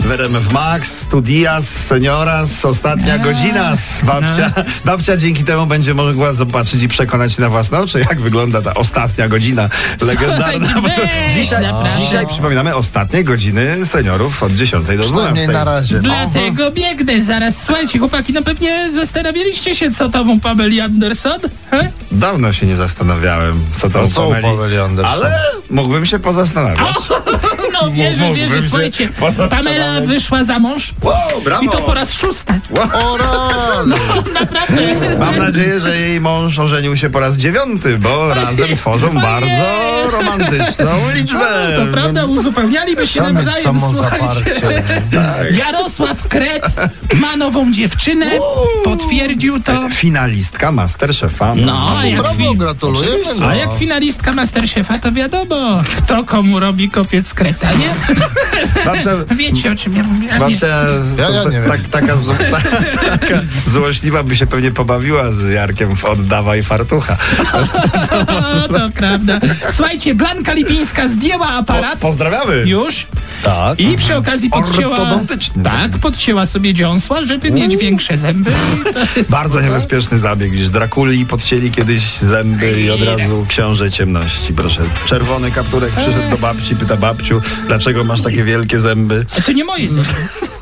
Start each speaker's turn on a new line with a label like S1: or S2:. S1: w RMF Max, Studias, Senioras,
S2: Tak.
S1: ostatnia godzina. z Babcia,
S2: No.
S1: babcia dzięki temu będzie mogła zobaczyć i przekonać się na własne oczy, jak wygląda ta ostatnia godzina legendarna.
S2: Słuchaj,
S1: Bo to
S2: weź,
S1: dzisiaj,
S2: naprawdę.
S1: dzisiaj przypominamy ostatnie godziny seniorów od 10 do
S3: Przynajmniej
S1: 12.
S3: na razie.
S2: Dlatego biegnę zaraz. Słuchajcie, chłopaki, no pewnie zastanawialiście się, co to mu Pameli Anderson? He?
S1: Dawno się nie zastanawiałem, co to
S3: A co u Pameli Anderson?
S1: Ale mógłbym się pozastanawiać.
S2: No wierzę,
S1: Mógłbym
S2: wierzę,
S1: się
S2: słuchajcie.
S1: pozastanawiać.
S2: Pamela wyszła za mąż
S1: Wow, brawo!
S2: i to po raz szósty.
S3: O rany!
S2: Naprawdę.
S1: Mam nadzieję, że jej mąż ożenił się po raz dziewiąty, bo razem tworzą bardzo romantyczną liczbę.
S2: To prawda, uzupełnialiby się
S3: Tam jest
S2: nawzajem, słuchajcie.
S3: samozaparcie.
S2: Jarosław Kret ma nową dziewczynę, potwierdził to.
S1: Finalistka Masterchefa.
S2: No, a jak,
S3: Brawo,
S2: fi-
S3: gratulujemy. no.
S2: a jak finalistka Masterchefa, to wiadomo, kto komu robi kopiec kreta, nie?
S1: no, Babcia,
S2: Wiecie, o czym ja mówię. a nie.
S1: babcia
S3: Ja- ja
S1: to-
S3: nie wiem.
S1: tak, taka, zł- ta, taka złośliwa by się pewnie pobawiła z Jarkiem w Oddawaj Fartucha.
S2: O, to prawda. Słuchajcie, Blanka Lipińska zdjęła aparat.
S1: Pozdrawiamy.
S2: Już.
S1: Tak.
S2: I przy okazji podcięła.
S1: Ortodontycznie.
S2: Tak, podcięła sobie dziąsła, żeby mieć większe zęby. To jest-
S1: Bardzo niebezpieczny zabieg, gdyż Drakuli podcięli kiedyś zęby i od razu książę ciemności, proszę. Czerwony kapturek przyszedł do babci, pyta babciu, dlaczego masz takie wielkie zęby?
S2: To nie moje zęby.